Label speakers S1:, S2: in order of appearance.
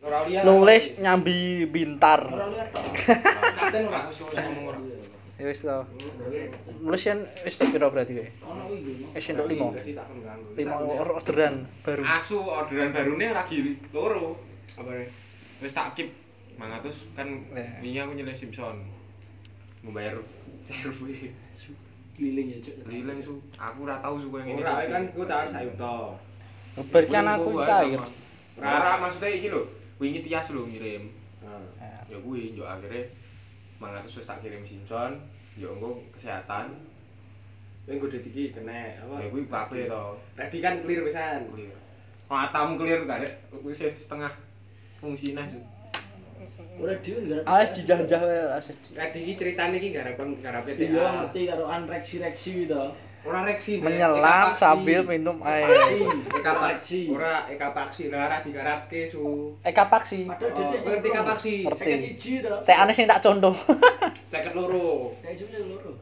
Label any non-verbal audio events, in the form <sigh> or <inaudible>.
S1: Australia.
S2: <laughs> nulis nyambi bintar
S1: Australia tok. Kapten ora wis wis ngomong ora.
S2: ya wis to nulis kan wis tak kira berarti kowe
S1: Ono iki.
S2: Wis Eh, entuk lima.
S1: Berarti tak pengganggu.
S2: lima or- orderan baru
S3: Asu orderan barune ora giri loro. Apa wis tak keep 500 kan
S2: Ya.
S3: wingi aku nyelih Simpson. Membayar serve.
S1: Keliling ya, Cuk.
S3: Lilin su, aku ora tau su koyo ngene.
S1: Ora eh, kan ku tak sayung to.
S2: Ngeber kan aku cair
S3: Ora maksudnya iki lho, wingi tias lho ngirim.
S1: Nah.
S2: Iya.
S3: Ya kuwi yo akhire 500 wis tak kirim Simpson, yo engko kesehatan.
S1: Minggu detik eh, iki kena
S3: Ya
S1: apa?
S3: kuwi pape to.
S1: Ready kan clear pisan.
S3: Clear. Matamu clear gak rek? Kuwi sih setengah fungsine su.
S4: Ora dhewe nggarap.
S2: alas dijah-jah Ah, wae alas di-
S1: Ready iki ceritane iki garapon garap PTA.
S4: Iya ngerti karo anreksi-reksi to.
S1: Ora reksi. Dek.
S2: menyelam
S1: Eka Paksi.
S2: sambil minum air
S1: Eka Paksi.
S4: Paksi.
S1: Ora Eka Paksi lah ora digarapke su.
S2: Eka Paksi
S4: Padahal
S1: Oh,
S4: dhewe
S1: ngerti Eka Paksi.
S2: Ngerti.
S4: Seket siji to.
S2: teh aneh sing tak condong
S1: Seket loro.
S4: Nek jumlah loro.
S1: Eka